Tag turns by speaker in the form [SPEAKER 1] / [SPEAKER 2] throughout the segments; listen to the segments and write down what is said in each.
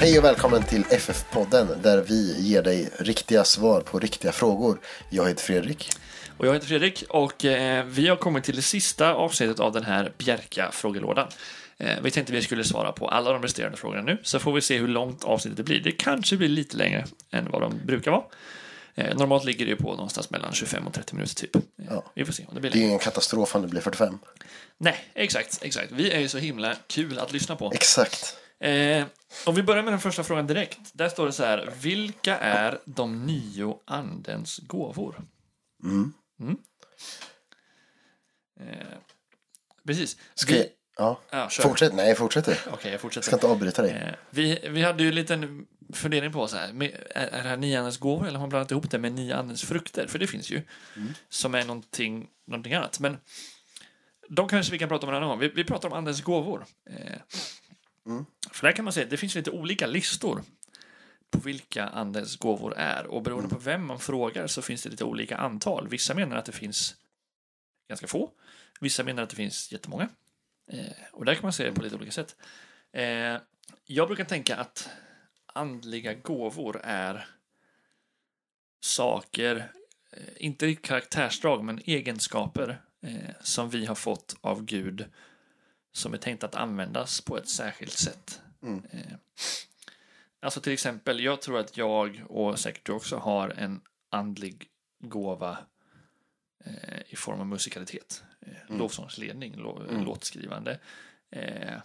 [SPEAKER 1] Hej och välkommen till FF-podden där vi ger dig riktiga svar på riktiga frågor. Jag heter Fredrik.
[SPEAKER 2] Och jag heter Fredrik och eh, vi har kommit till det sista avsnittet av den här Bjärka frågelådan. Eh, vi tänkte vi skulle svara på alla de resterande frågorna nu, så får vi se hur långt avsnittet det blir. Det kanske blir lite längre än vad de brukar vara. Eh, normalt ligger det ju på någonstans mellan 25 och 30 minuter typ. Eh,
[SPEAKER 1] Ja.
[SPEAKER 2] Vi får se om det blir
[SPEAKER 1] Det är
[SPEAKER 2] längre.
[SPEAKER 1] ju ingen katastrof om det blir 45.
[SPEAKER 2] Nej, exakt, exakt. Vi är ju så himla kul att lyssna på.
[SPEAKER 1] Exakt.
[SPEAKER 2] Eh, om vi börjar med den första frågan direkt. Där står det så här. Vilka är de nio andens gåvor?
[SPEAKER 1] Mm.
[SPEAKER 2] Eh, precis.
[SPEAKER 1] Ska jag... Ja.
[SPEAKER 2] Ja, kör.
[SPEAKER 1] Fortsätt. Nej, fortsätt du.
[SPEAKER 2] Okej, jag
[SPEAKER 1] Jag
[SPEAKER 2] fortsätter.
[SPEAKER 1] ska inte avbryta dig.
[SPEAKER 2] Eh, vi, vi hade ju en liten fundering på så här. Med, är, är det här nio andens gåvor eller har man blandat ihop det med nio andens frukter? För det finns ju. Som är någonting, någonting annat. Men de kanske vi kan prata om en annan gång. Vi, vi pratar om andens gåvor. Eh, För där kan man säga att det finns lite olika listor på vilka andens gåvor är. Och beroende på vem man frågar så finns det lite olika antal. Vissa menar att det finns ganska få. Vissa menar att det finns jättemånga. Eh, och där kan man se det på lite olika sätt. Eh, jag brukar tänka att andliga gåvor är saker, eh, inte riktigt karaktärsdrag, men egenskaper eh, som vi har fått av Gud som är tänkt att användas på ett särskilt sätt.
[SPEAKER 1] Mm.
[SPEAKER 2] Eh, alltså till exempel, jag tror att jag och säkert du också har en andlig gåva eh, i form av musikalitet, eh, lovsångsledning, lo-
[SPEAKER 1] Mm.
[SPEAKER 2] låtskrivande. Eh,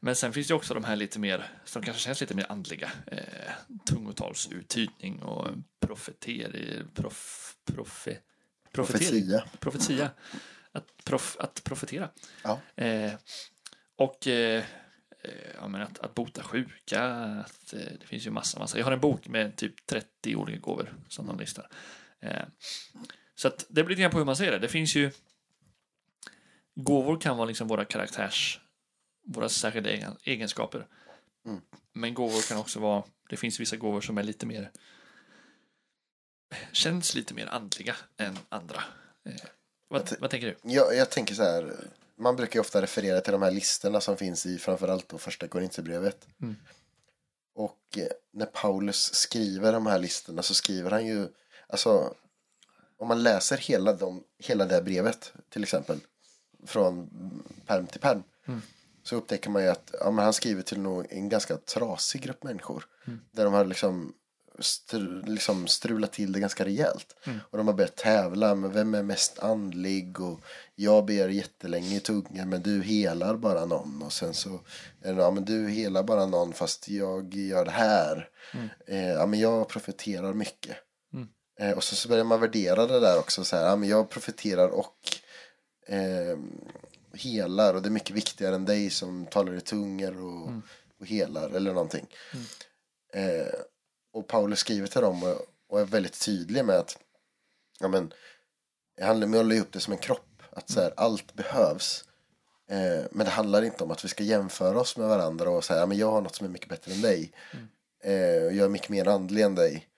[SPEAKER 2] men sen finns det också de här lite mer, som kanske känns lite mer andliga. Eh, tungotalsuttydning och profeteri, prof, profe, profetering
[SPEAKER 1] Profetia.
[SPEAKER 2] profetia. Att, prof, att profetera.
[SPEAKER 1] Ja.
[SPEAKER 2] Eh, och eh, eh, ja, men att, att bota sjuka. Att, eh, det finns ju massa, massa. Jag har en bok med typ 30 olika gåvor som de listar. Eh, så att det blir lite grann på hur man ser det. Det finns ju gåvor kan vara liksom våra karaktärs, våra särskilda egen- egenskaper.
[SPEAKER 1] Mm.
[SPEAKER 2] Men gåvor kan också vara, det finns vissa gåvor som är lite mer känns lite mer andliga än andra. Eh, vad, vad tänker du?
[SPEAKER 1] Jag, jag tänker så här. Man brukar ju ofta referera till de här listorna som finns i framförallt då första Korinthierbrevet.
[SPEAKER 2] Mm.
[SPEAKER 1] Och eh, när Paulus skriver de här listorna så skriver han ju, alltså om man läser hela, de, hela det här brevet till exempel från perm till perm så upptäcker man ju att ja, men han skriver till nog en ganska trasig grupp människor där de har liksom, str, liksom strulat till det ganska rejält och de har börjat tävla med vem är mest andlig och jag ber jättelänge i tunga men du helar bara någon och sen så är det, ja men du helar bara någon fast jag gör det här eh, ja men jag profeterar mycket Eh, och så, så börjar man värdera det där också. Så här, ja, men jag profeterar och eh, helar. Och det är mycket viktigare än dig som talar i tungor och, och helar eller någonting. Eh, och Paulus skriver till dem och, och är väldigt tydlig med att ja, men, det handlar om att hålla upp det som en kropp. Att så här, allt behövs. Eh, men det handlar inte om att vi ska jämföra oss med varandra och säga ja, men jag har något som är mycket bättre än dig. Eh, och jag är mycket mer andlig än dig.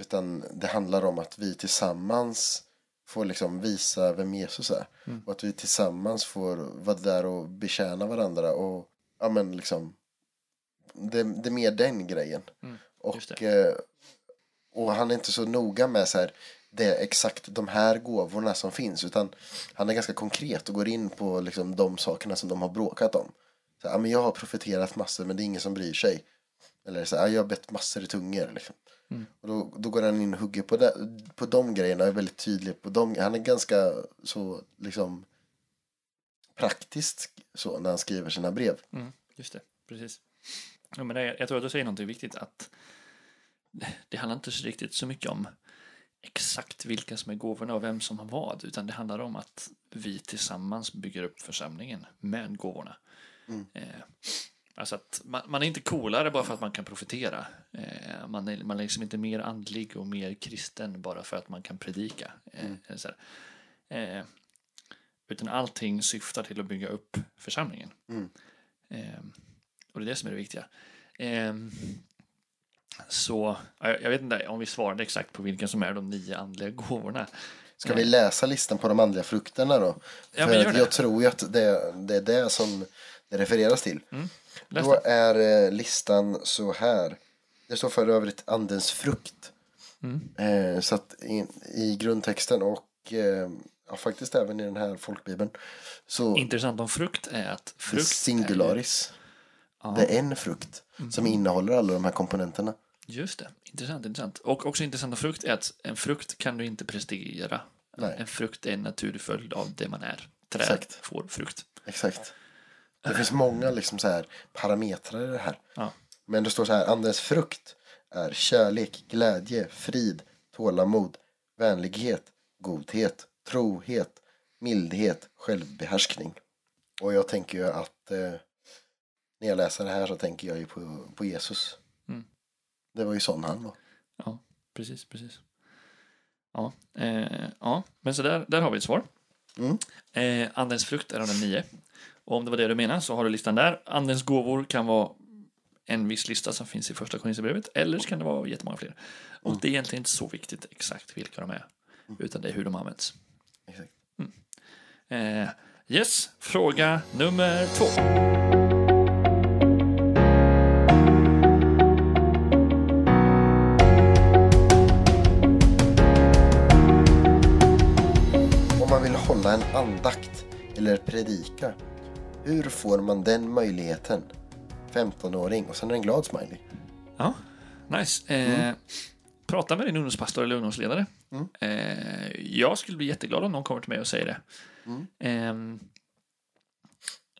[SPEAKER 1] Utan det handlar om att vi tillsammans får liksom visa vem Jesus är. Och att vi tillsammans får vara där och betjäna varandra. Och ja men liksom. Det, det är mer den grejen.
[SPEAKER 2] just
[SPEAKER 1] och, eh, och han är inte så noga med så här. Det är exakt de här gåvorna som finns. Utan han är ganska konkret och går in på liksom de sakerna som de har bråkat om. Så, här, ja, men jag har profeterat massor men det är ingen som bryr sig. Eller så här, "Ja, jag har bett massor i tungor. Liksom. Och då, då går han in och hugger på, det, på de grejerna och är väldigt tydlig på dem. Han är ganska så liksom praktiskt så när han skriver sina brev.
[SPEAKER 2] Mm, just det, precis. Ja, men det, jag tror att du säger någonting viktigt att det handlar inte så riktigt så mycket om exakt vilka som är gåvorna och vem som har vad, utan det handlar om att vi tillsammans bygger upp församlingen med gåvorna. Eh, alltså att man, man är inte coolare bara för att man kan profetera. Eh, man, är, man är liksom inte mer andlig och mer kristen bara för att man kan predika. Eh,
[SPEAKER 1] Mm.
[SPEAKER 2] eller så här. Eh, utan allting syftar till att bygga upp församlingen.
[SPEAKER 1] Mm.
[SPEAKER 2] Ehm, och det är det som är det viktiga. Ehm, så ja, jag jag vet inte om vi svarade exakt på vilka som är de nio andliga gåvorna. Eh,
[SPEAKER 1] Ska vi läsa listan på de andliga frukterna då?
[SPEAKER 2] Mm.
[SPEAKER 1] För
[SPEAKER 2] Ja, men gör
[SPEAKER 1] att
[SPEAKER 2] det.
[SPEAKER 1] jag tror ju att det, det är det som det refereras till.
[SPEAKER 2] Mm, Läs
[SPEAKER 1] Då är eh, listan så här. Det står för övrigt andens frukt.
[SPEAKER 2] Mm.
[SPEAKER 1] Eh, så att i, i grundtexten och eh, ja, faktiskt även i den här folkbibeln. Så
[SPEAKER 2] Intressant om frukt är att frukt Är,
[SPEAKER 1] singularis. Det är en frukt som
[SPEAKER 2] Mhm.
[SPEAKER 1] innehåller alla de här komponenterna.
[SPEAKER 2] just det, intressant, intressant. Och också intressant om frukt är att en frukt kan du inte prestera.
[SPEAKER 1] Nej.
[SPEAKER 2] En frukt är en naturlig följd av det man är. Träd
[SPEAKER 1] Exakt.
[SPEAKER 2] får frukt.
[SPEAKER 1] Exakt. Det finns många liksom så här parametrar i det här.
[SPEAKER 2] Ja.
[SPEAKER 1] Men det står så här, andens frukt är kärlek, glädje, frid, tålamod, vänlighet, godhet, trohet, mildhet, självbehärskning. Och jag tänker ju att eh, när jag läser det här så tänker jag ju på, på Jesus.
[SPEAKER 2] Mm.
[SPEAKER 1] Det var ju sån han var.
[SPEAKER 2] Ja, precis, precis. Ja, eh, ja. men så där, där har vi ett svar.
[SPEAKER 1] Mm.
[SPEAKER 2] Eh, andens frukt är av den nio. Och om det var det du menar så har du listan där. Andens gåvor kan vara en viss lista som finns i första Korinthierbrevet eller så kan det vara jättemånga fler. Och
[SPEAKER 1] Mm.
[SPEAKER 2] det är egentligen inte så viktigt exakt vilka de är, utan det är hur de används.
[SPEAKER 1] Exakt.
[SPEAKER 2] Eh, yes, fråga nummer två.
[SPEAKER 1] Om man vill hålla en andakt eller predika, hur får man den möjligheten? 15-åring och sen är det en glad smiley.
[SPEAKER 2] Ja, nice. Eh, Prata med din ungdomspastor eller ungdomsledare.
[SPEAKER 1] Mm.
[SPEAKER 2] Eh, jag skulle bli jätteglad om någon kommer till mig och säger det.
[SPEAKER 1] Mm.
[SPEAKER 2] Ehm,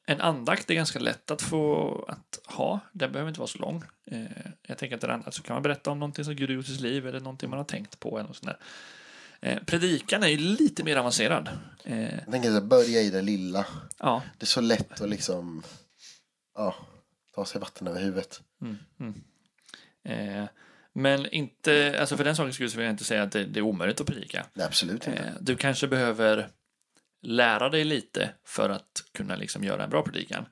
[SPEAKER 2] en andakt är ganska lätt att få att ha. Den behöver inte vara så lång. Eh, jag tänker att en andakt så kan man berätta om någonting som Gud har gjort i sitt liv eller någonting man har tänkt på. Eller något sånt där. Eh, predikan är ju lite mer avancerad. Eh,
[SPEAKER 1] Jag tänker att börja i det lilla.
[SPEAKER 2] ja,
[SPEAKER 1] Det är så lätt att liksom ja, ta sig vatten över huvudet.
[SPEAKER 2] eh, men inte, alltså för den sakens skull så vill jag inte säga att det, det är omöjligt att predika.
[SPEAKER 1] Nej, absolut inte.
[SPEAKER 2] Eh, Du kanske behöver lära dig lite för att kunna liksom göra en bra predikan.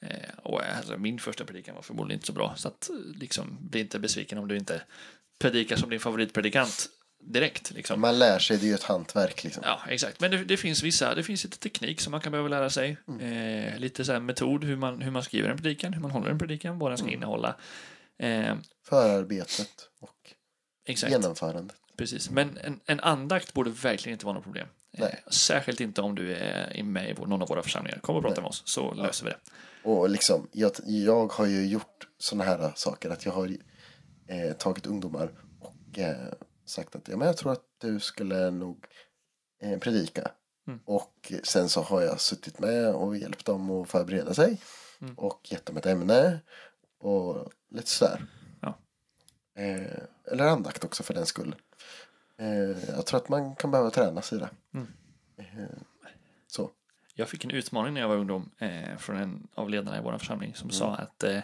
[SPEAKER 2] Eh, Och alltså, min första predikan var förmodligen inte så bra, så att eh, liksom, bli inte besviken om du inte predikar som din favoritpredikant direkt. Liksom.
[SPEAKER 1] Man lär sig, det är ju ett hantverk liksom.
[SPEAKER 2] Ja, exakt. Men det, det finns vissa, det finns lite teknik som man kan behöva lära sig. Eh, lite så här metod hur man, hur man skriver en predikan, hur man håller en predikan, vad den ska innehålla. Eh,
[SPEAKER 1] Förarbetet och
[SPEAKER 2] exakt.
[SPEAKER 1] genomförandet.
[SPEAKER 2] Precis, men en, en andakt borde verkligen inte vara något problem.
[SPEAKER 1] Nej.
[SPEAKER 2] Eh, Särskilt inte om du är i- med i vår- någon av våra församlingar. Kom och prata med oss så löser vi det.
[SPEAKER 1] Och liksom, jag, jag har ju gjort sådana här saker. Att jag har eh, tagit ungdomar och eh, sagt att ja, men jag tror att du skulle nog eh, predika. Och sen så har jag suttit med och hjälpt dem att förbereda sig. Och gett dem ett ämne. Och lite sådär.
[SPEAKER 2] Ja.
[SPEAKER 1] Eh, eller andakt också för den skull. Eh, jag tror att man kan behöva träna sig i det. Eh, så.
[SPEAKER 2] Jag fick en utmaning när jag var ungdom eh, från en av ledarna i vår församling som sa att eh,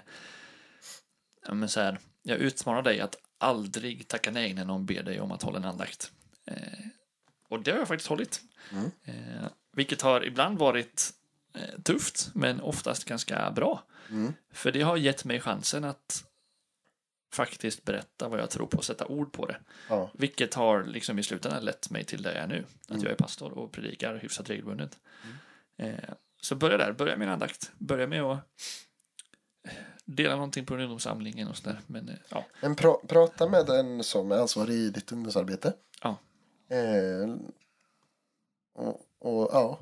[SPEAKER 2] ja, men så här, jag utmanar dig att aldrig tacka nej när någon ber dig om att hålla en andakt. Eh, och det har jag faktiskt hållit. Eh, vilket har ibland varit eh, tufft men oftast ganska bra.
[SPEAKER 1] Mm.
[SPEAKER 2] För det har gett mig chansen att faktiskt berätta vad jag tror på och sätta ord på det.
[SPEAKER 1] Ja.
[SPEAKER 2] Vilket har liksom i slutändan lett mig till där jag är nu. Att jag är pastor och predikar hyfsat regelbundet. Eh, så börja där, börja med en andakt. Börja med att dela någonting på ungdomssamlingen och sådär. Men eh, ja,
[SPEAKER 1] Men pra- prata med en som är ansvarig i ditt ungdomsarbete.
[SPEAKER 2] Ja.
[SPEAKER 1] Eh, och, och, ja.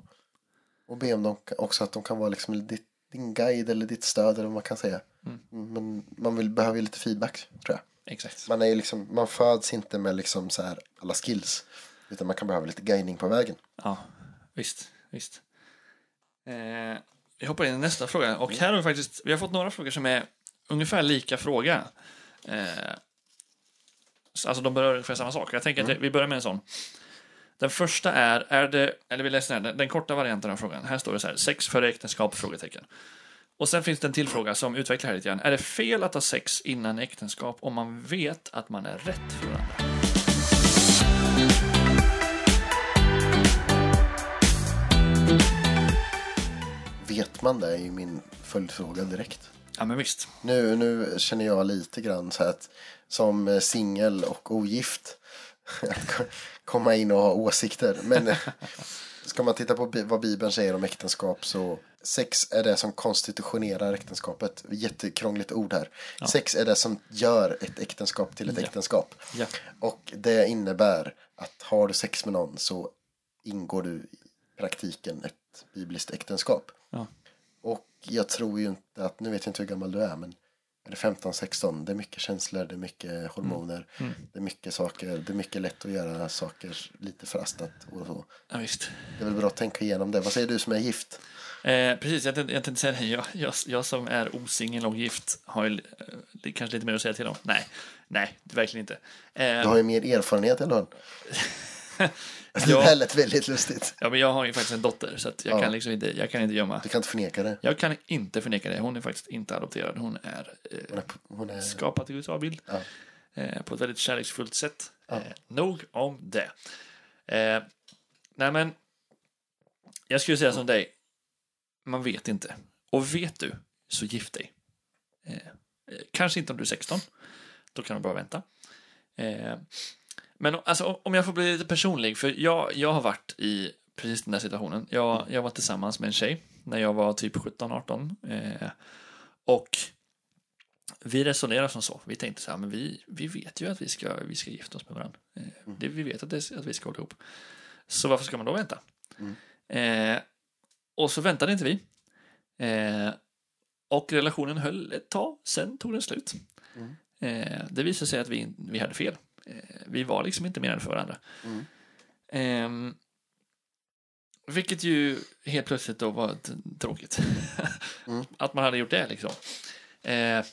[SPEAKER 1] och be om dem k- också att de kan vara liksom ditt, din guide eller ditt stöd eller vad man kan säga.
[SPEAKER 2] Mm.
[SPEAKER 1] Men man vill, behöver ju lite feedback tror jag.
[SPEAKER 2] exakt.
[SPEAKER 1] Man, är ju liksom, man föds inte med liksom så här alla skills. Utan man kan behöva lite guidning på vägen.
[SPEAKER 2] Ja, visst, visst. Eh, vi hoppar in i nästa fråga. Och här har vi faktiskt, vi har fått några frågor som är ungefär lika fråga. Eh, så- alltså de berör ungefär samma sak. Jag tänker att vi börjar med en sån. Den första är, är det, eller vi läser den, här, den, den korta varianten av frågan. Här står det så här, sex före äktenskap? Frågetecken. Och sen finns det en till fråga som utvecklar det här lite grann. Är det fel att ha sex innan äktenskap om man vet att man är rätt för varandra?
[SPEAKER 1] Vet man det är ju min följdfråga direkt.
[SPEAKER 2] Ja, men visst.
[SPEAKER 1] Nu, nu känner jag lite grann så här att som eh, singel och ogift komma in och ha åsikter. Men eh, ska man titta på bi- vad Bibeln säger om äktenskap så sex är det som konstitutionerar äktenskapet. Jättekrångligt ord här. Sex är det som gör ett äktenskap till ett
[SPEAKER 2] Ja.
[SPEAKER 1] äktenskap.
[SPEAKER 2] Ja.
[SPEAKER 1] Och det innebär att har du sex med någon så ingår du i praktiken ett bibliskt äktenskap.
[SPEAKER 2] Ja.
[SPEAKER 1] Och jag tror ju inte att, nu vet jag inte hur gammal du är, men är det 15, 16, det är mycket känslor, det är mycket hormoner,
[SPEAKER 2] Mm.
[SPEAKER 1] det är mycket saker, det är mycket lätt att göra saker lite förhastat och så.
[SPEAKER 2] Ja, visst.
[SPEAKER 1] Det är väl bra att tänka igenom det. Vad säger du som är gift?
[SPEAKER 2] Eh, precis, jag tänkte, jag tänkte säga det. Jag, jag, jag som är osingel och gift har ju eh, det är kanske lite mer att säga till om. Nej, nej, verkligen inte. Eh,
[SPEAKER 1] Du har ju mer erfarenhet än hon. Det
[SPEAKER 2] Ja.
[SPEAKER 1] där lät väldigt lustigt.
[SPEAKER 2] Ja, men jag har ju faktiskt en dotter så att jag,
[SPEAKER 1] Ja.
[SPEAKER 2] kan liksom inte, jag kan inte gömma.
[SPEAKER 1] Du kan inte förneka det.
[SPEAKER 2] Jag kan inte förneka det. Hon är faktiskt inte adopterad. Hon är
[SPEAKER 1] Hon är,
[SPEAKER 2] eh,
[SPEAKER 1] hon är,
[SPEAKER 2] skapad i USA-bild.
[SPEAKER 1] Ja.
[SPEAKER 2] Eh, på ett väldigt kärleksfullt sätt. Eh, nog om det. Eh, nej, men jag skulle säga som dig. Man vet inte. Och vet du, så gift dig. Eh, eh, kanske inte om du är 16. Då kan du bara vänta. Eh, men o- alltså, o- om jag får bli lite personlig, för jag, jag har varit i precis den där situationen. Jag, jag var tillsammans med en tjej när jag var typ 17-18. Eh, och vi resonerar som så. Vi tänkte så här, men vi, vi vet ju att vi ska, vi ska gifta oss med varandra. Eh,
[SPEAKER 1] Mm.
[SPEAKER 2] det, vi vet att, det, att vi ska hålla ihop. Så varför ska man då vänta?
[SPEAKER 1] Mm.
[SPEAKER 2] Eh, och så väntade inte vi. Eh, och relationen höll ett tag, sen tog den slut.
[SPEAKER 1] Mm.
[SPEAKER 2] Eh, det visade sig att vi, vi hade fel. Eh, vi var liksom inte menade för varandra.
[SPEAKER 1] Mm.
[SPEAKER 2] Ehm, vilket ju helt plötsligt då var t- tråkigt.
[SPEAKER 1] Mm.
[SPEAKER 2] Att man hade gjort det liksom. Eh,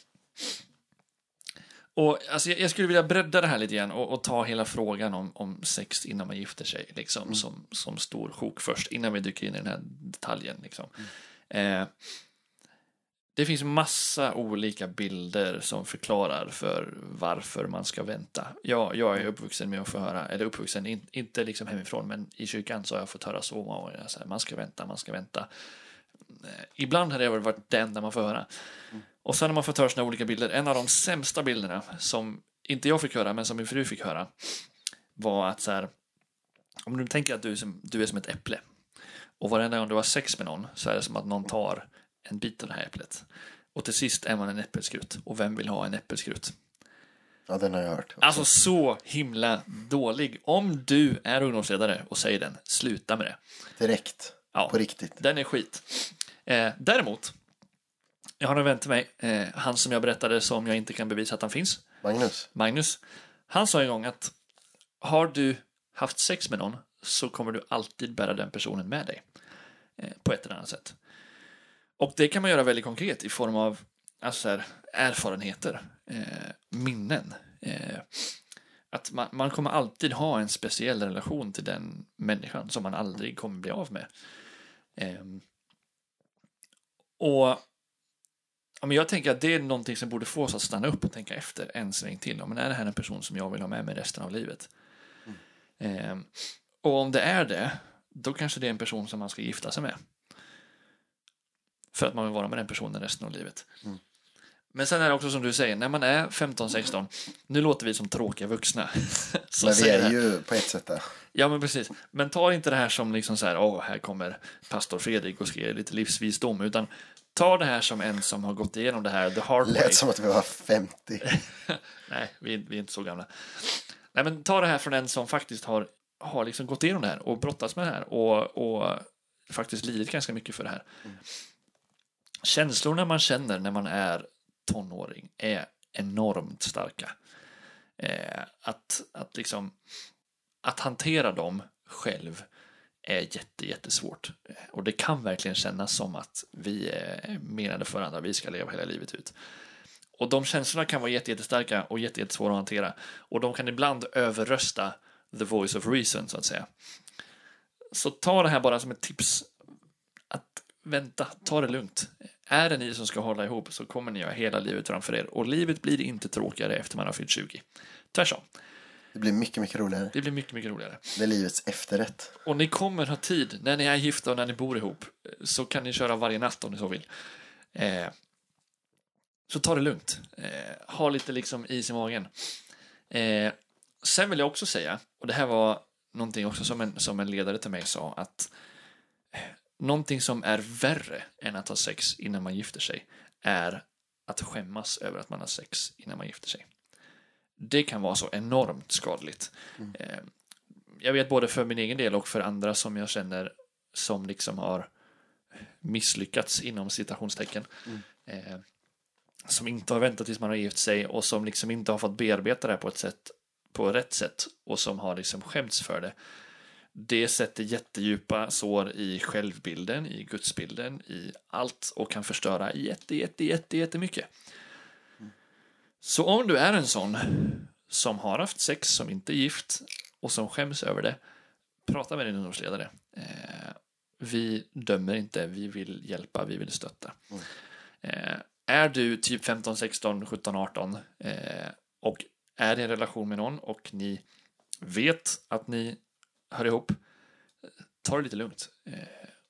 [SPEAKER 2] och alltså, jag, jag skulle vilja bredda det här lite grann och, och ta hela frågan om, om sex innan man gifter sig liksom, som, som stor sjok först innan vi dyker in i den här detaljen. Liksom. Eh, det finns massa olika bilder som förklarar för varför man ska vänta. Jag, jag är uppvuxen med att få höra, eller uppvuxen, in, inte liksom hemifrån, men i kyrkan så har jag fått höra så många gånger, så här, man ska vänta, man ska vänta. Eh, Ibland har det väl varit det enda man får höra. Och sen har man fått höra sina olika bilder. En av de sämsta bilderna som inte jag fick höra, men som min fru fick höra var att så här, om du tänker att du är som, du är som ett äpple och varenda gång du har sex med någon så är det som att någon tar en bit av det här äpplet. Och till sist är man en äppelskrut. Och vem vill ha en äppelskrut?
[SPEAKER 1] ja, den har jag hört.
[SPEAKER 2] Alltså så himla dålig. Om du är ungdomsledare och säger den, sluta med det.
[SPEAKER 1] Direkt.
[SPEAKER 2] Ja.
[SPEAKER 1] På riktigt.
[SPEAKER 2] Den är skit. Eh, däremot, jag har en vän till mig, eh, han som jag berättade som jag inte kan bevisa att han finns,
[SPEAKER 1] Magnus.
[SPEAKER 2] Magnus. Han sa en gång att har du haft sex med någon så kommer du alltid bära den personen med dig. Eh, på ett eller annat sätt. Och det kan man göra väldigt konkret i form av alltså så här, erfarenheter, eh, minnen. Eh, att man, man kommer alltid ha en speciell relation till den människan som man aldrig kommer bli av med. Ehm, och ja, men jag tänker att det är någonting som borde få oss att stanna upp och tänka efter en sväng till. Ja, men är det här en person som jag vill ha med mig resten av livet?
[SPEAKER 1] Mm.
[SPEAKER 2] Ehm, och om det är det, då kanske det är en person som man ska gifta sig med. För att man vill vara med den personen resten av livet.
[SPEAKER 1] Mm.
[SPEAKER 2] Men sen är det också som du säger, när man är 15-16, nu låter vi som tråkiga vuxna. som
[SPEAKER 1] Men vi
[SPEAKER 2] säger det här.
[SPEAKER 1] är ju på ett sätt där.
[SPEAKER 2] Ja, men precis. Men ta inte det här som liksom så här, åh, här kommer pastor Fredrik och ska ge lite livsvisdom, utan ta det här som en som har gått igenom det här the hard way.
[SPEAKER 1] Lät som att vi var 50.
[SPEAKER 2] Nej, vi, är- vi är inte så gamla. Nej, men ta det här från en som faktiskt har, har liksom gått igenom det här och brottats med det här och, och faktiskt lidit ganska mycket för det här. Känslorna man känner när man är tonåring är enormt starka. Eh, att, att, liksom, att hantera dem själv är jätte, jättesvårt. Eh, Och det kan verkligen kännas som att vi är menade för varandra, vi ska leva hela livet ut. Och de känslorna kan vara jätte- jättestarka och jätte- jättesvåra att hantera. Och de kan ibland överrösta the voice of reason, så att säga. Så ta det här bara som ett tips. Att vänta, ta det lugnt. Är det ni som ska hålla ihop så kommer ni ha hela livet framför er. Och livet blir inte tråkigare efter man har fyllt 20. Tvärtom,
[SPEAKER 1] Det blir mycket, mycket roligare.
[SPEAKER 2] det blir mycket, mycket roligare.
[SPEAKER 1] Det är livets efterrätt.
[SPEAKER 2] Och ni kommer ha tid, när ni är gifta och när ni bor ihop, så kan ni köra varje natt om ni så vill. Eh, så ta det lugnt. Eh, ha lite liksom is i magen. Eh, Sen vill jag också säga, och det här var någonting också som en, som en ledare till mig sa, att eh, någonting som är värre än att ha sex innan man gifter sig är att skämmas över att man har sex innan man gifter sig. Det kan vara så enormt skadligt. Eh, Jag vet både för min egen del och för andra som jag känner som liksom har misslyckats inom citationstecken. Eh, som inte har väntat tills man har gift sig och som liksom inte har fått bearbeta det här på ett sätt på rätt sätt och som har liksom skämts för det. Det sätter jättedjupa sår i självbilden, i gudsbilden, i allt och kan förstöra jätte, jätte, jätte, jättemycket. Så om du är en sån som har haft sex, som inte är gift och som skäms över det, prata med din ungdomsledare. Eh, vi dömer inte, vi vill hjälpa, vi vill stötta.
[SPEAKER 1] Mm.
[SPEAKER 2] Eh, är du typ 15, 16, 17, 18 eh, och är i en relation med någon och ni vet att ni hör ihop, eh, ta det lite lugnt eh,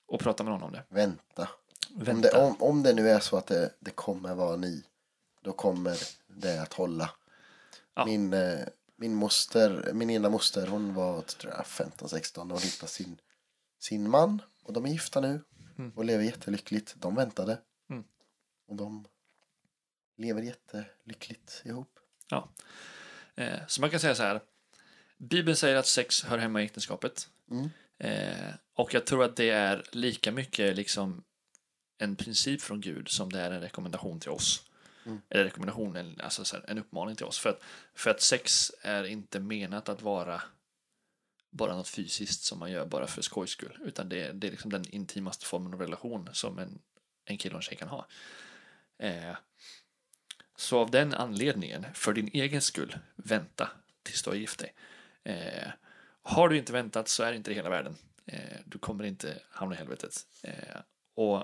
[SPEAKER 2] och prata med någon om det.
[SPEAKER 1] Vänta. Om
[SPEAKER 2] Vänta.
[SPEAKER 1] det, om, om det nu är så att det, det kommer vara ni, då kommer det att hålla.
[SPEAKER 2] Ja.
[SPEAKER 1] Min, eh, min moster, min ena moster, hon var tror jag, 15-16 och hon hittade sin, sin man. Och de är gifta nu och lever jättelyckligt. De väntade.
[SPEAKER 2] Mm.
[SPEAKER 1] Och de lever jättelyckligt ihop.
[SPEAKER 2] Ja. Eh, så man kan säga så här. Bibeln säger att sex hör hemma i äktenskapet.
[SPEAKER 1] Mm.
[SPEAKER 2] Eh, och jag tror att det är lika mycket liksom en princip från Gud som det är en rekommendation till oss.
[SPEAKER 1] Mm.
[SPEAKER 2] Eller rekommendation, en- alltså så här, en uppmaning till oss. För att, för att sex är inte menat att vara bara något fysiskt som man gör bara för skojs skull. Utan det, det är liksom den intimaste formen av relation som en, en kille och en tjej kan ha. Eh, så av den anledningen, för din egen skull, vänta tills du har gift dig. Eh, har du inte väntat så är det inte det hela världen. Eh, du kommer inte hamna i helvetet. Eh, och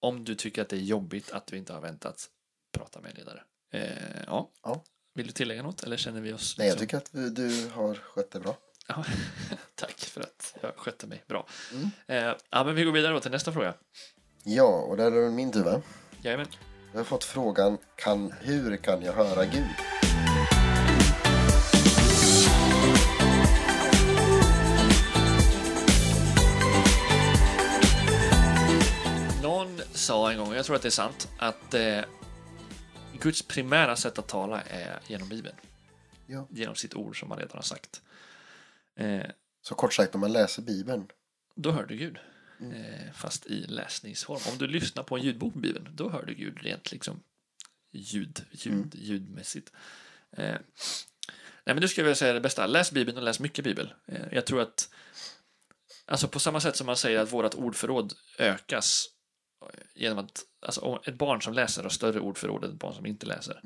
[SPEAKER 2] om du tycker att det är jobbigt att du inte har väntat, prata med en ledare. Eh, ja.
[SPEAKER 1] Ja.
[SPEAKER 2] Vill du tillägga något eller känner vi oss...
[SPEAKER 1] Nej, jag
[SPEAKER 2] liksom-
[SPEAKER 1] tycker att du- du har skött det bra.
[SPEAKER 2] Ja, tack för att jag skötte mig bra. Eh, ja, men vi går vidare då till nästa fråga.
[SPEAKER 1] Ja, och där är det min tur va?
[SPEAKER 2] Jajamän.
[SPEAKER 1] Jag har fått frågan, kan, hur kan jag höra Gud?
[SPEAKER 2] Någon sa en gång, och jag tror att det är sant, att eh, Guds primära sätt att tala är genom Bibeln.
[SPEAKER 1] Ja.
[SPEAKER 2] Genom sitt ord som han redan har sagt. Eh,
[SPEAKER 1] Så kort sagt, om man läser Bibeln.
[SPEAKER 2] då hör du Gud. Eh, fast i läsningsform. Om du lyssnar på en ljudbok i Bibeln, då hör du Gud rent liksom ljud, ljud, ljudmässigt. Eh, nej, men du ska jag vilja säga det bästa. Läs Bibeln och läs mycket Bibel. Eh, jag tror att alltså på samma sätt som man säger att vårt ordförråd ökas eh, genom att alltså, om ett barn som läser har större ordförråd än ett barn som inte läser.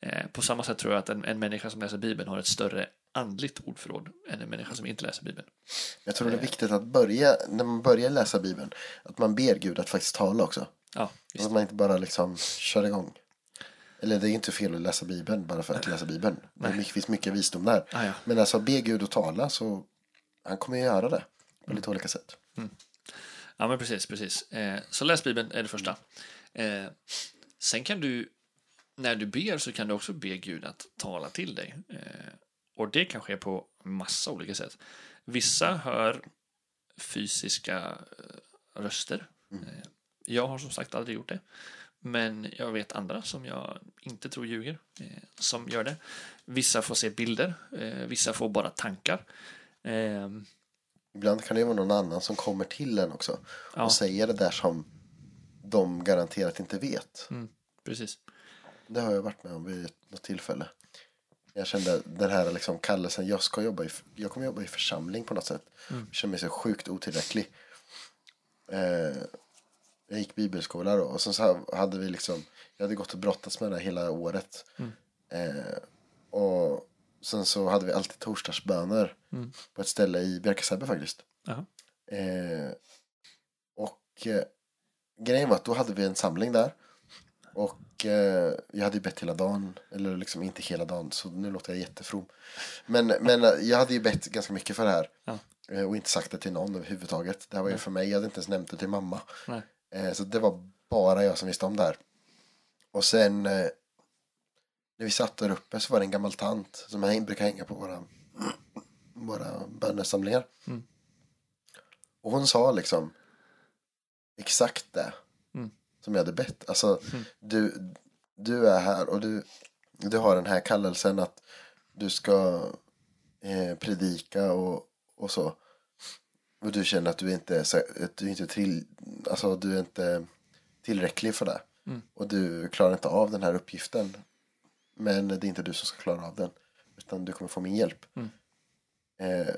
[SPEAKER 2] Eh, på samma sätt tror jag att en, en människa som läser Bibeln har ett större andligt ordförråd än en människa som inte läser Bibeln.
[SPEAKER 1] Jag tror det är viktigt att börja, när man börjar läsa Bibeln, att man ber Gud att faktiskt tala också.
[SPEAKER 2] Ja, visst.
[SPEAKER 1] Så att man inte bara liksom kör igång. Eller det är inte fel att läsa Bibeln bara för att läsa Bibeln. Det är mycket- finns mycket visdom där.
[SPEAKER 2] Ah, ja.
[SPEAKER 1] Men alltså be Gud att tala så han kommer ju göra det på lite olika sätt.
[SPEAKER 2] Ja, men precis, precis. Eh, så läs Bibeln är det första. Eh, sen kan du, när du ber så kan du också be Gud att tala till dig. Eh, och det kan ske på massa olika sätt. Vissa hör fysiska eh, röster. Eh, jag har som sagt aldrig gjort det. Men jag vet andra som jag inte tror ljuger eh, som gör det. Vissa får se bilder, eh, vissa får bara tankar. Ehm,
[SPEAKER 1] Ibland kan det ju vara någon annan som kommer till en också.
[SPEAKER 2] Ja.
[SPEAKER 1] Och säger det där som de garanterat inte vet.
[SPEAKER 2] mm, precis.
[SPEAKER 1] Det har jag varit med om vid något tillfälle. Jag kände den här liksom kallelsen, jag ska jobba i, jag kommer jobba i församling på något sätt. Jag känner mig så sjukt otillräcklig. Eh, jag gick bibelskola då och sen så här hade vi liksom, jag hade gått och brottats med det här hela året. Eh, och sen så hade vi alltid torsdagsböner på ett ställe i Bjärka faktiskt.
[SPEAKER 2] Jaha.
[SPEAKER 1] Eh, och eh, grejen var att då hade vi en samling där. Och eh, jag hade ju bett hela dagen. Eller liksom inte hela dagen, så nu låter jag jättefrom. Men, men eh, jag hade ju bett ganska mycket för det här.
[SPEAKER 2] Ja.
[SPEAKER 1] Eh, och inte sagt det till någon överhuvudtaget. Det här var ju för mig, jag hade inte ens nämnt det till mamma.
[SPEAKER 2] Nej.
[SPEAKER 1] Eh, så det var bara jag som visste om det här. Och sen eh, När vi satt där uppe så var det en gammal tant som häng, brukar hänga på våra, våra bönesamlingar.
[SPEAKER 2] Mm.
[SPEAKER 1] Och hon sa liksom exakt det
[SPEAKER 2] Mm.
[SPEAKER 1] som jag hade bett. Alltså,
[SPEAKER 2] Mm.
[SPEAKER 1] du, du är här och du, du har den här kallelsen att du ska eh, predika och, och så. Och du känner att du inte är, så- att du inte är, till, alltså, du är inte tillräcklig för det.
[SPEAKER 2] Mm.
[SPEAKER 1] Och du klarar inte av den här uppgiften. Men det är inte du som ska klara av den. Utan du kommer få min hjälp.
[SPEAKER 2] Mm.
[SPEAKER 1] Eh,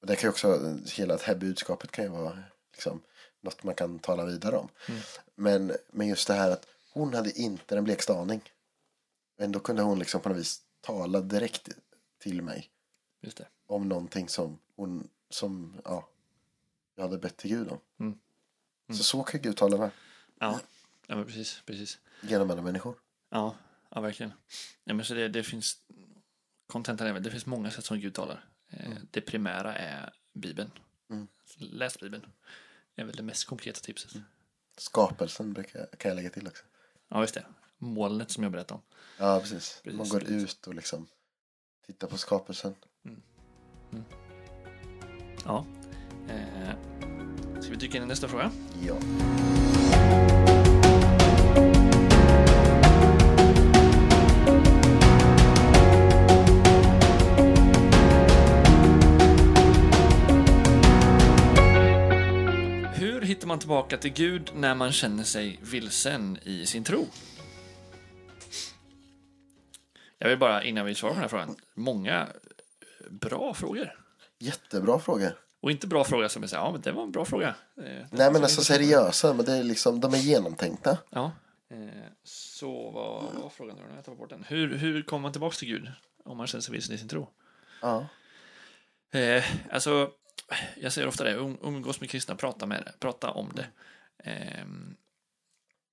[SPEAKER 1] och det kan ju också, hela det här budskapet kan ju vara liksom, något man kan tala vidare om.
[SPEAKER 2] Mm.
[SPEAKER 1] Men, men just det här att hon hade inte den blekaste aning. Men då kunde hon liksom på något vis tala direkt till mig
[SPEAKER 2] Just det.
[SPEAKER 1] om någonting som hon som ja, jag hade bett till Gud om.
[SPEAKER 2] Mm. Mm.
[SPEAKER 1] Så så kan Gud tala med
[SPEAKER 2] Ja, ja men precis. precis.
[SPEAKER 1] genom andra människor.
[SPEAKER 2] Ja, ja verkligen. Ja, men så det, det finns kontentan är väl, det finns många sätt som Gud talar. Eh, Det primära är Bibeln.
[SPEAKER 1] Mm.
[SPEAKER 2] Läs Bibeln. Det är väl det mest konkreta tipset.
[SPEAKER 1] Skapelsen brukar jag, kan jag lägga till också.
[SPEAKER 2] Ja, just det. Molnet som jag berättade om.
[SPEAKER 1] Ja, precis.
[SPEAKER 2] Precis,
[SPEAKER 1] Man går
[SPEAKER 2] precis.
[SPEAKER 1] ut och liksom tittar på skapelsen.
[SPEAKER 2] Ja. Eh, ska vi dyka in i nästa fråga?
[SPEAKER 1] Ja.
[SPEAKER 2] Hur hittar man tillbaka till Gud när man känner sig vilsen i sin tro? Jag vill bara, innan vi svarar på den här frågan, många bra frågor.
[SPEAKER 1] Jättebra frågor.
[SPEAKER 2] Och inte bra fråga som är så här, ja men det var en bra fråga. Eh,
[SPEAKER 1] Nej men alltså seriösa, men det är liksom, de är genomtänkta.
[SPEAKER 2] Ja. Eh, Så vad vad var frågan nu då? Jag tappade bort den. Hur, hur kommer man tillbaka till Gud om man känner sig vilsen i sin tro?
[SPEAKER 1] Ja.
[SPEAKER 2] Eh, alltså, jag säger ofta det, um- umgås med kristna, prata med det, prata om det. Ehm,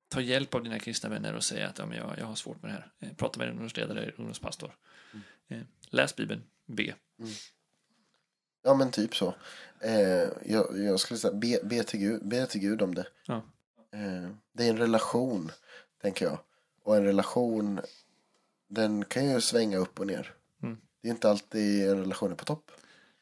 [SPEAKER 2] ta hjälp av dina kristna vänner och säg att ja, men jag, jag har svårt med det här. Eh, prata med din ungdomsledare, ungdomspastor. Eh, läs Bibeln, be.
[SPEAKER 1] Ja men typ så. Eh, jag, jag skulle säga be, be, till Gud, be till Gud om det.
[SPEAKER 2] Ja.
[SPEAKER 1] Eh, det är en relation, tänker jag. Och en relation, den kan ju svänga upp och ner.
[SPEAKER 2] Mm.
[SPEAKER 1] Det är inte alltid en relation är på topp.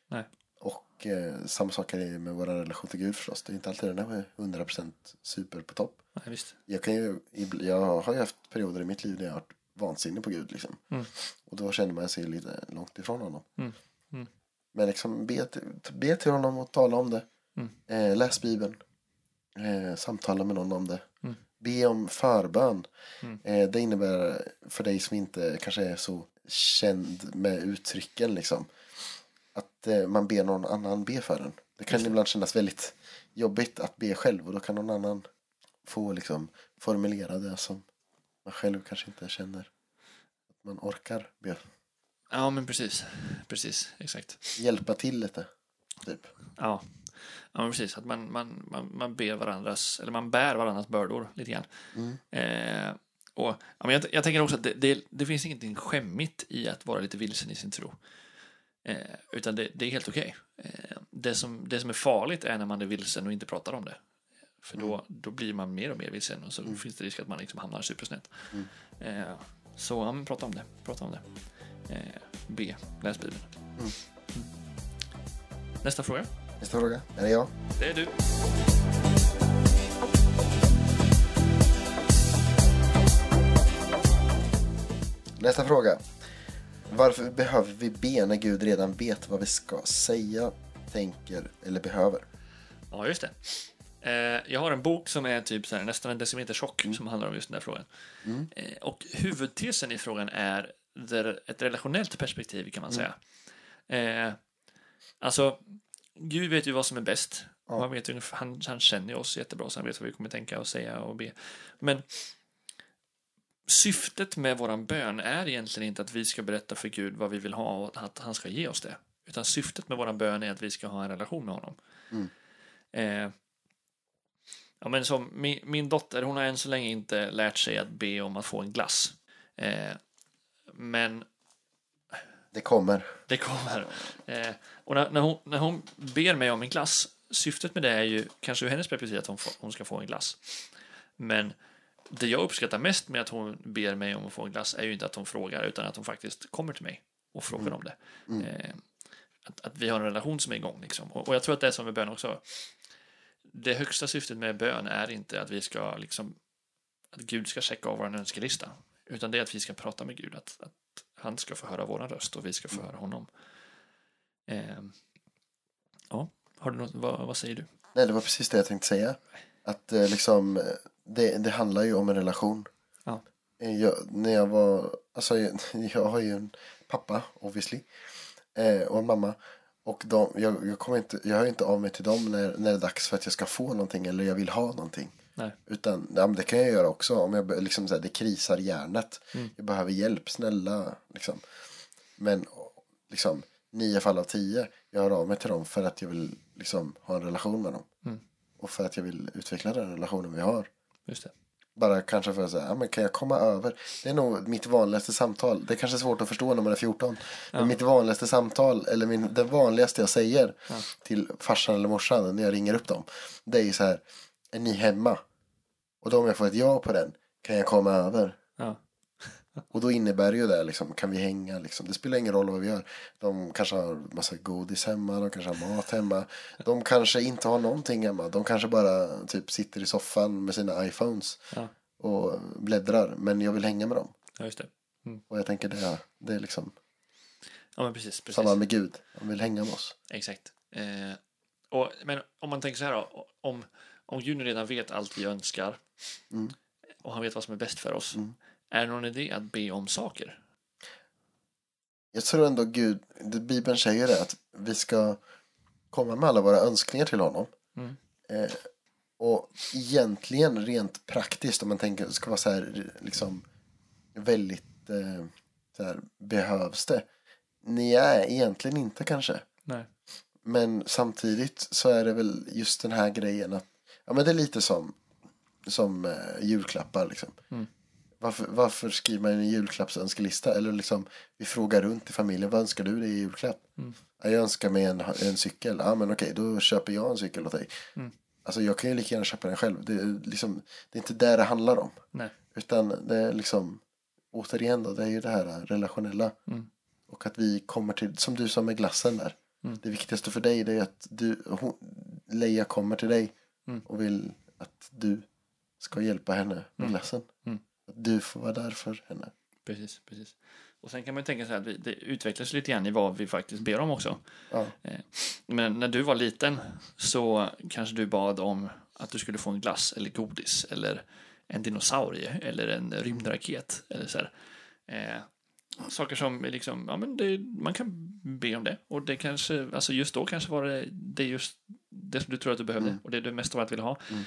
[SPEAKER 2] Nej.
[SPEAKER 1] Och eh, samma sak är det med vår relation till Gud förstås. Det är inte alltid den är 100% super på topp.
[SPEAKER 2] Nej, visst.
[SPEAKER 1] Jag, kan ju, ibl- jag har ju haft perioder i mitt liv där jag har varit vansinnig på Gud. Liksom.
[SPEAKER 2] Mm.
[SPEAKER 1] Och då känner man sig lite långt ifrån honom.
[SPEAKER 2] Mm. Mm.
[SPEAKER 1] Men liksom be till, be till honom och tala om det.
[SPEAKER 2] Mm.
[SPEAKER 1] Eh, läs Bibeln. Eh, samtala med någon om det.
[SPEAKER 2] Mm.
[SPEAKER 1] Be om förbön.
[SPEAKER 2] Mm.
[SPEAKER 1] Eh, det innebär för dig som inte kanske är så känd med uttrycken. Liksom, att eh, man ber någon annan be för en. Det kan ibland kännas väldigt jobbigt att be själv. Och då kan någon annan få liksom, formulera det som man själv kanske inte känner. Att man orkar be.
[SPEAKER 2] Ja, men precis. Precis, exakt.
[SPEAKER 1] Hjälpa till lite. Typ.
[SPEAKER 2] Ja, ja men precis. Att man, man, man, man ber varandras, eller man bär varandras bördor lite grann.
[SPEAKER 1] Mm.
[SPEAKER 2] Eh, och, ja, men jag, jag tänker också att det, det, det finns ingenting skämmigt i att vara lite vilsen i sin tro. Eh, utan det, det är helt okej. Eh, det, som, det som är farligt är när man är vilsen och inte pratar om det. För då,
[SPEAKER 1] Mm.
[SPEAKER 2] då blir man mer och mer vilsen och så finns det risk att man liksom hamnar supersnett.
[SPEAKER 1] Mm.
[SPEAKER 2] Eh, så ja, men prata om det. Prata om det. Eh, B. Läs Bibeln.
[SPEAKER 1] Mm.
[SPEAKER 2] Nästa fråga.
[SPEAKER 1] Nästa fråga. Är det jag?
[SPEAKER 2] Det är du.
[SPEAKER 1] Nästa fråga. Varför behöver vi be när Gud redan vet vad vi ska säga, tänker eller behöver?
[SPEAKER 2] Ja, just det. Eh, jag har en bok som är typ så här, nästan en decimeter tjock som handlar om just den här frågan. Eh, och huvudtesen i frågan är där ett relationellt perspektiv kan man säga. Eh, alltså, Gud vet ju vad som är bäst.
[SPEAKER 1] Ja.
[SPEAKER 2] Han, vet, ungefär- han, han känner ju oss jättebra så han vet vad vi kommer tänka och säga och be. Men syftet med våran bön är egentligen inte att vi ska berätta för Gud vad vi vill ha och att han ska ge oss det. Utan syftet med våran bön är att vi ska ha en relation med honom. Eh, ja, men som min, min dotter, hon har än så länge inte lärt sig att be om att få en glass. Eh, men
[SPEAKER 1] Det kommer.
[SPEAKER 2] det kommer. Eh, och när, när, hon, när hon ber mig om en glass, syftet med det är ju kanske ur hennes perspektiv att hon, får, hon ska få en glass. Men det jag uppskattar mest med att hon ber mig om att få en glass är ju inte att hon frågar utan att hon faktiskt kommer till mig och frågar om det. Eh, att, att vi har en relation som är igång liksom. Och, och jag tror att det är som med bön också. Det högsta syftet med bön är inte att vi ska liksom att Gud ska checka av vår önskelista utan det är att vi ska prata med Gud. Att, att han ska få höra våran röst och vi ska
[SPEAKER 1] Mm.
[SPEAKER 2] få höra honom. Eh, ja, har du något, vad, vad säger du?
[SPEAKER 1] Nej, det var precis det jag tänkte säga. Att eh, liksom, eh, det, det handlar ju om en relation.
[SPEAKER 2] Ja.
[SPEAKER 1] Eh, Jag, när jag var, alltså jag, jag har ju en pappa obviously. Eh, och en mamma. Och de, jag, jag, kommer inte, jag hör ju inte av mig till dem när, när det är dags för att jag ska få någonting eller jag vill ha någonting.
[SPEAKER 2] Nej.
[SPEAKER 1] Utan ja, men det kan jag göra också. Om jag be- liksom så här, det krisar hjärnet.
[SPEAKER 2] Mm.
[SPEAKER 1] Jag behöver hjälp, snälla. Liksom. Men liksom, nio fall av tio, jag hör av mig till dem för att jag vill liksom, ha en relation med dem. Och för att jag vill utveckla den relationen vi har.
[SPEAKER 2] Just det.
[SPEAKER 1] Bara kanske för att säga, ja, men kan jag komma över? Det är nog mitt vanligaste samtal. Det kanske är svårt att förstå när man är 14. Men mitt vanligaste samtal, eller min, det vanligaste jag säger till farsan eller morsan när jag ringer upp dem. Det är ju så här, är ni hemma? Och då om jag får ett ja på den, kan jag komma över?
[SPEAKER 2] Ja.
[SPEAKER 1] Och då innebär ju det liksom, kan vi hänga liksom? Det spelar ingen roll vad vi gör. De kanske har massa godis hemma, de kanske har mat hemma. De kanske inte har någonting hemma. De kanske bara typ sitter i soffan med sina iPhones
[SPEAKER 2] Ja.
[SPEAKER 1] och bläddrar. Men jag vill hänga med dem.
[SPEAKER 2] Ja, just det.
[SPEAKER 1] Och jag tänker det, det är liksom
[SPEAKER 2] Ja, men precis. precis.
[SPEAKER 1] samma med Gud. Han vill hänga med oss.
[SPEAKER 2] Exakt. Eh, och, men om man tänker så här då, om, om Gud nu redan vet allt vi önskar
[SPEAKER 1] Mm.
[SPEAKER 2] och han vet vad som är bäst för oss,
[SPEAKER 1] Mm.
[SPEAKER 2] är det någon idé att be om saker?
[SPEAKER 1] Jag tror ändå Gud, det Bibeln säger det att vi ska komma med alla våra önskningar till honom.
[SPEAKER 2] Mm.
[SPEAKER 1] Eh, och egentligen rent praktiskt om man tänker det ska vara så här liksom väldigt eh, så här, behövs det? Nej, egentligen inte kanske.
[SPEAKER 2] Nej.
[SPEAKER 1] Men samtidigt så är det väl just den här grejen att ja, men det är lite som, som eh, julklappar liksom.
[SPEAKER 2] Mm.
[SPEAKER 1] Varför, varför skriver man en julklappsönskelista? Eller liksom, vi frågar runt i familjen, vad önskar du dig i julklapp?
[SPEAKER 2] Mm.
[SPEAKER 1] Ja, jag önskar mig en, en cykel. Ja, men okej, då köper jag en cykel åt dig.
[SPEAKER 2] Mm.
[SPEAKER 1] Alltså, jag kan ju lika gärna köpa den själv. Det är, liksom, det är inte det det handlar om.
[SPEAKER 2] Nej.
[SPEAKER 1] Utan det är liksom, återigen då, det är ju det här relationella.
[SPEAKER 2] Mm.
[SPEAKER 1] Och att vi kommer till, som du sa med glassen där.
[SPEAKER 2] Mm.
[SPEAKER 1] Det viktigaste för dig det är att du, hon, Leia kommer till dig
[SPEAKER 2] Mm.
[SPEAKER 1] och vill att du ska hjälpa henne med glassen.
[SPEAKER 2] Mm.
[SPEAKER 1] Att du får vara där för henne.
[SPEAKER 2] Precis, precis. Och sen kan man ju tänka sig att vi, det utvecklas lite grann i vad vi faktiskt ber om också.
[SPEAKER 1] Ja.
[SPEAKER 2] Men när du var liten så kanske du bad om att du skulle få en glass eller godis eller en dinosaurie eller en rymdraket eller så här. Eh, saker som är liksom, ja men det, man kan be om det och det kanske, alltså just då kanske var det, det är just det som du tror att du behövde och det du mest av allt ville ha.
[SPEAKER 1] Mm.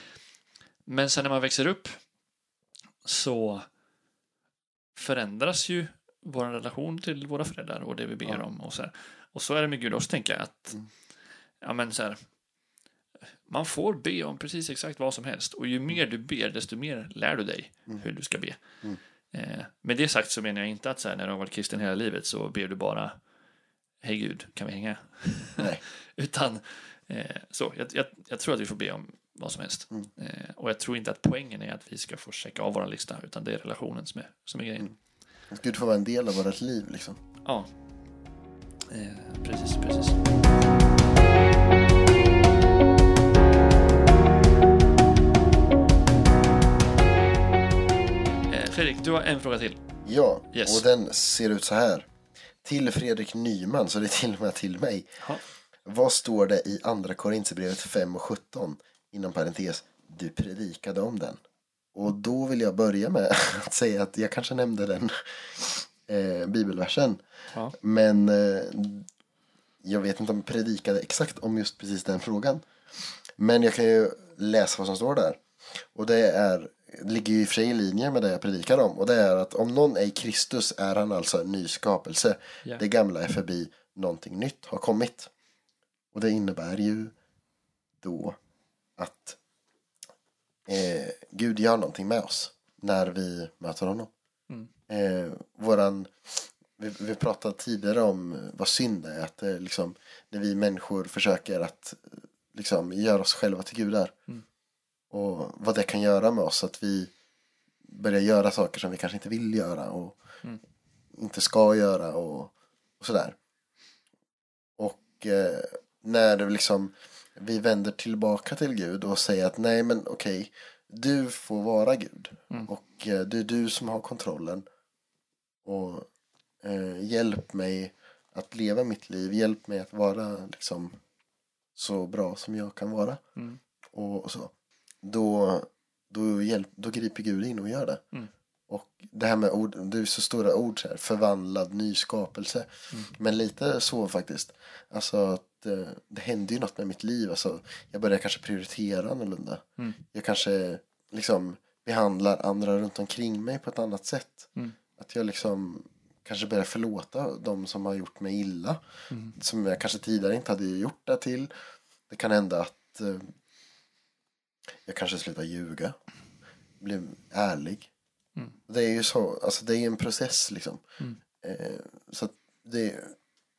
[SPEAKER 2] Men sen när man växer upp så förändras ju vår relation till våra föräldrar och det vi ber
[SPEAKER 1] Ja.
[SPEAKER 2] om och så här. Och så är det med Gud också, tänker jag. Att,
[SPEAKER 1] Mm.
[SPEAKER 2] ja, men så här, man får be om precis exakt vad som helst och ju mer du ber desto mer lär du dig
[SPEAKER 1] Mm.
[SPEAKER 2] hur du ska be.
[SPEAKER 1] Mm.
[SPEAKER 2] Eh, med det sagt så menar jag inte att så här, när du har varit kristen hela livet så ber du bara Hej Gud, kan vi hänga?
[SPEAKER 1] Nej.
[SPEAKER 2] Utan eh, så, jag, jag, jag tror att vi får be om vad som helst.
[SPEAKER 1] Mm.
[SPEAKER 2] Eh, och jag tror inte att poängen är att vi ska få checka av vår lista utan det är relationen som är, som är grejen.
[SPEAKER 1] Att Gud får vara en del av vårt liv liksom.
[SPEAKER 2] Ja, eh, precis, precis. Eh, Fredrik, du har en fråga till.
[SPEAKER 1] Ja,
[SPEAKER 2] Yes.
[SPEAKER 1] och den ser ut så här. Till Fredrik Nyman, så det är till och med till mig.
[SPEAKER 2] Ja.
[SPEAKER 1] Vad står det i andra Korinthierbrevet 5 och 17? Inom parentes, du predikade om den. Och då vill jag börja med att säga att jag kanske nämnde den eh, bibelversen.
[SPEAKER 2] Ja.
[SPEAKER 1] Men eh, jag vet inte om jag predikade exakt om just precis den frågan. Men jag kan ju läsa vad som står där. Och det är, det ligger ju i och för sig i linje med det jag predikar om. Och det är att om någon är i Kristus är han alltså en ny skapelse.
[SPEAKER 2] Ja.
[SPEAKER 1] Det gamla är förbi, någonting nytt har kommit. Och det innebär ju då att eh, Gud gör någonting med oss när vi möter honom.
[SPEAKER 2] Mm.
[SPEAKER 1] Eh, våran, vi, vi pratade tidigare om vad synd är. Att eh, liksom, när vi människor försöker att eh, liksom, göra oss själva till gudar.
[SPEAKER 2] Mm.
[SPEAKER 1] Och vad det kan göra med oss. Att vi börja göra saker som vi kanske inte vill göra och inte ska göra och, och sådär. Och eh, när det liksom vi vänder tillbaka till Gud och säger att nej men okej, du får vara Gud. Och eh, det är du som har kontrollen. Och eh, hjälp mig att leva mitt liv, hjälp mig att vara liksom så bra som jag kan vara.
[SPEAKER 2] Mm.
[SPEAKER 1] Och, och så. Då, då, hjälp, då griper Gud in och gör det.
[SPEAKER 2] Mm.
[SPEAKER 1] Och det här med ord, det är så stora ord så här, förvandlad nyskapelse.
[SPEAKER 2] Mm.
[SPEAKER 1] Men lite så faktiskt. Alltså att eh, det hände ju något med mitt liv. Alltså, jag började kanske prioritera annorlunda.
[SPEAKER 2] Mm.
[SPEAKER 1] Jag kanske liksom behandlar andra runt omkring mig på ett annat sätt.
[SPEAKER 2] Mm.
[SPEAKER 1] Att jag liksom kanske börjar förlåta de som har gjort mig illa. Som jag kanske tidigare inte hade gjort det till. Det kan hända att eh, jag kanske slutar ljuga. Blir ärlig. Det är ju så, alltså det är ju en process liksom. Eh, så att det,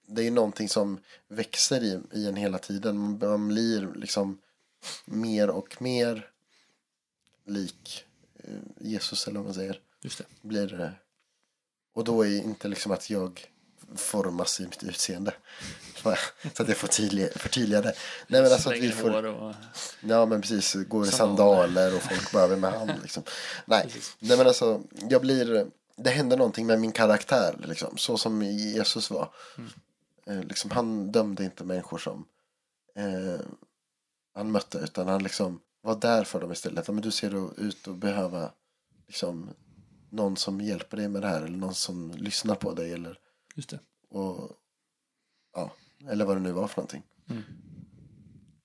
[SPEAKER 1] det är ju någonting som växer i, i en hela tiden. Man, man blir liksom mer och mer lik eh, Jesus eller vad man säger.
[SPEAKER 2] Just det.
[SPEAKER 1] Blir det. Och då är ju inte liksom att jag formas i mitt utseende. Så att jag får tydlig, förtydliga det. Nej men alltså att vi
[SPEAKER 2] Slänger
[SPEAKER 1] får.
[SPEAKER 2] hår och...
[SPEAKER 1] Ja men precis, går i
[SPEAKER 2] Sandaler.
[SPEAKER 1] sandaler och folk bara vem är han liksom. Nej. Nej men alltså, jag blir, det händer någonting med min karaktär liksom, så som Jesus var. Eh, liksom, han dömde inte människor som eh, han mötte utan han liksom var där för dem istället. Ja, Men du ser då ut att behöva liksom, någon som hjälper dig med det här eller någon som lyssnar på dig eller,
[SPEAKER 2] Just det.
[SPEAKER 1] och, ja, eller vad det nu var för någonting.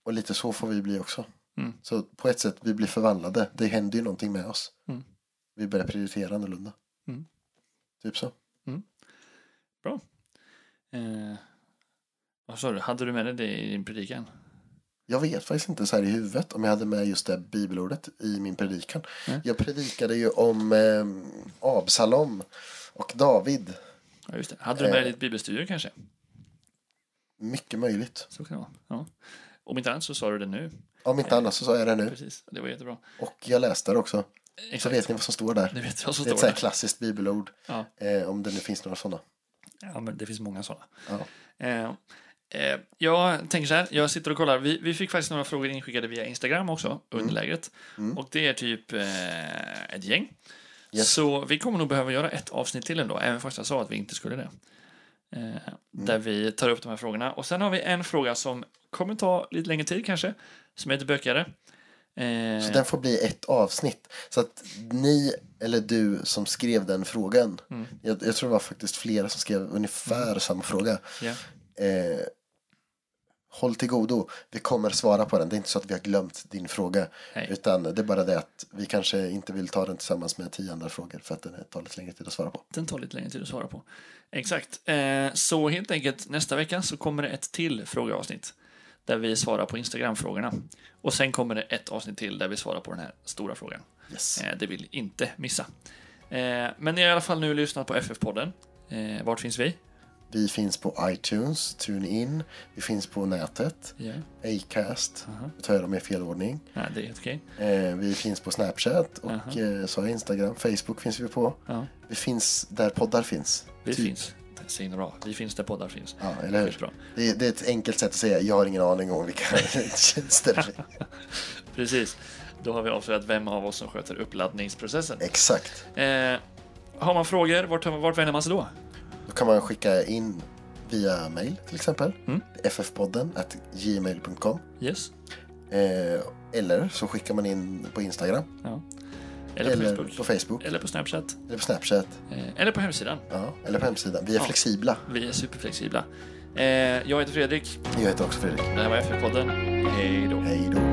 [SPEAKER 1] Och lite så får vi bli också.
[SPEAKER 2] Mm.
[SPEAKER 1] Så på ett sätt, vi blir förvandlade. Det händer ju någonting med oss.
[SPEAKER 2] Mm.
[SPEAKER 1] Vi börjar prioritera annorlunda.
[SPEAKER 2] Mm.
[SPEAKER 1] Typ så.
[SPEAKER 2] Bra. Eh, vad sa du? Hade du med dig det i din predikan?
[SPEAKER 1] Jag vet faktiskt inte så här i huvudet om jag hade med just det här bibelordet i min predikan.
[SPEAKER 2] Nej.
[SPEAKER 1] Jag predikade ju om eh, Absalom och David.
[SPEAKER 2] Ja, just det. Hade du med dig
[SPEAKER 1] Eh.
[SPEAKER 2] ditt bibelstudier kanske?
[SPEAKER 1] Mycket möjligt.
[SPEAKER 2] Så kan det vara. Mm. Ja. Om inte annat så sa du det nu.
[SPEAKER 1] Om inte annars så sa jag det nu.
[SPEAKER 2] Precis. Det var jättebra.
[SPEAKER 1] Och jag läste det också. Så vet ni vad som står där.
[SPEAKER 2] Nu vet jag så
[SPEAKER 1] Det är ett så
[SPEAKER 2] står
[SPEAKER 1] här
[SPEAKER 2] det.
[SPEAKER 1] klassiskt bibelord.
[SPEAKER 2] Ja.
[SPEAKER 1] Eh, om det nu finns några sådana.
[SPEAKER 2] ja, men det finns många sådana.
[SPEAKER 1] Ja.
[SPEAKER 2] Eh, eh, jag tänker så här, jag sitter och kollar. Vi, vi fick faktiskt några frågor inskickade via Instagram också,
[SPEAKER 1] Mm.
[SPEAKER 2] under lägret. Och det är typ eh, ett gäng.
[SPEAKER 1] Yes.
[SPEAKER 2] Så vi kommer nog behöva göra ett avsnitt till ändå, även fast jag sa att vi inte skulle det. Eh,
[SPEAKER 1] Mm.
[SPEAKER 2] Där vi tar upp de här frågorna. Och sen har vi en fråga som kommer ta lite längre tid kanske, som är lite bökigare. Eh,
[SPEAKER 1] Så den får bli ett avsnitt. Så att ni eller du som skrev den frågan.
[SPEAKER 2] Mm.
[SPEAKER 1] Jag, jag tror det var faktiskt flera som skrev ungefär samma fråga.
[SPEAKER 2] ja.
[SPEAKER 1] Eh, håll till godo. Vi kommer svara på den. Det är inte så att vi har glömt din fråga.
[SPEAKER 2] Nej.
[SPEAKER 1] Utan det är bara det att vi kanske inte vill ta den tillsammans med tio andra frågor. För att den tar lite längre tid att svara på.
[SPEAKER 2] Den tar lite längre tid att svara på. Exakt. Eh, så helt enkelt, nästa vecka så kommer det ett till frågeavsnitt där vi svarar på Instagram-frågorna. Och sen kommer det ett avsnitt till där vi svarar på den här stora frågan.
[SPEAKER 1] Yes.
[SPEAKER 2] Eh, det vill inte missa. Eh, men ni har i alla fall nu lyssnat på FF-podden. Eh, vart finns vi?
[SPEAKER 1] Vi finns på iTunes, TuneIn. Vi finns på nätet.
[SPEAKER 2] Ja.
[SPEAKER 1] Acast.
[SPEAKER 2] Mhm.
[SPEAKER 1] Nu tar jag dem i fel ordning.
[SPEAKER 2] Nej, det är helt okej.
[SPEAKER 1] Eh, vi finns på Snapchat och eh, så har Instagram. Facebook finns vi på.
[SPEAKER 2] Mhm. Ja,
[SPEAKER 1] Vi finns där poddar finns.
[SPEAKER 2] vi
[SPEAKER 1] Typ.
[SPEAKER 2] finns. Det är så himla bra. Vi finns där poddar finns.
[SPEAKER 1] Ja, eller hur?
[SPEAKER 2] Skitbra.
[SPEAKER 1] Det, är- det är ett enkelt sätt att säga jag har ingen aning om vilka tjänster det är.
[SPEAKER 2] Precis. Då har vi avslöjat vem av oss som sköter uppladdningsprocessen.
[SPEAKER 1] Exakt.
[SPEAKER 2] Eh, har man frågor, vart, vart vänder man sig då?
[SPEAKER 1] Då kan man skicka in via mail till exempel.
[SPEAKER 2] Mm.
[SPEAKER 1] ffpodden at gmail.com
[SPEAKER 2] Yes.
[SPEAKER 1] eh, Eller så skickar man in på Instagram.
[SPEAKER 2] Ja. Eller,
[SPEAKER 1] Eller
[SPEAKER 2] på Facebook. Eller på Snapchat.
[SPEAKER 1] Eller på Snapchat.
[SPEAKER 2] Eh, eller på hemsidan.
[SPEAKER 1] Ja, eller på hemsidan. Vi är
[SPEAKER 2] Ja.
[SPEAKER 1] flexibla.
[SPEAKER 2] Vi är superflexibla. Eh, jag heter Fredrik.
[SPEAKER 1] Jag heter också Fredrik.
[SPEAKER 2] Det här var FF-podden. Hej då.
[SPEAKER 1] Hej då.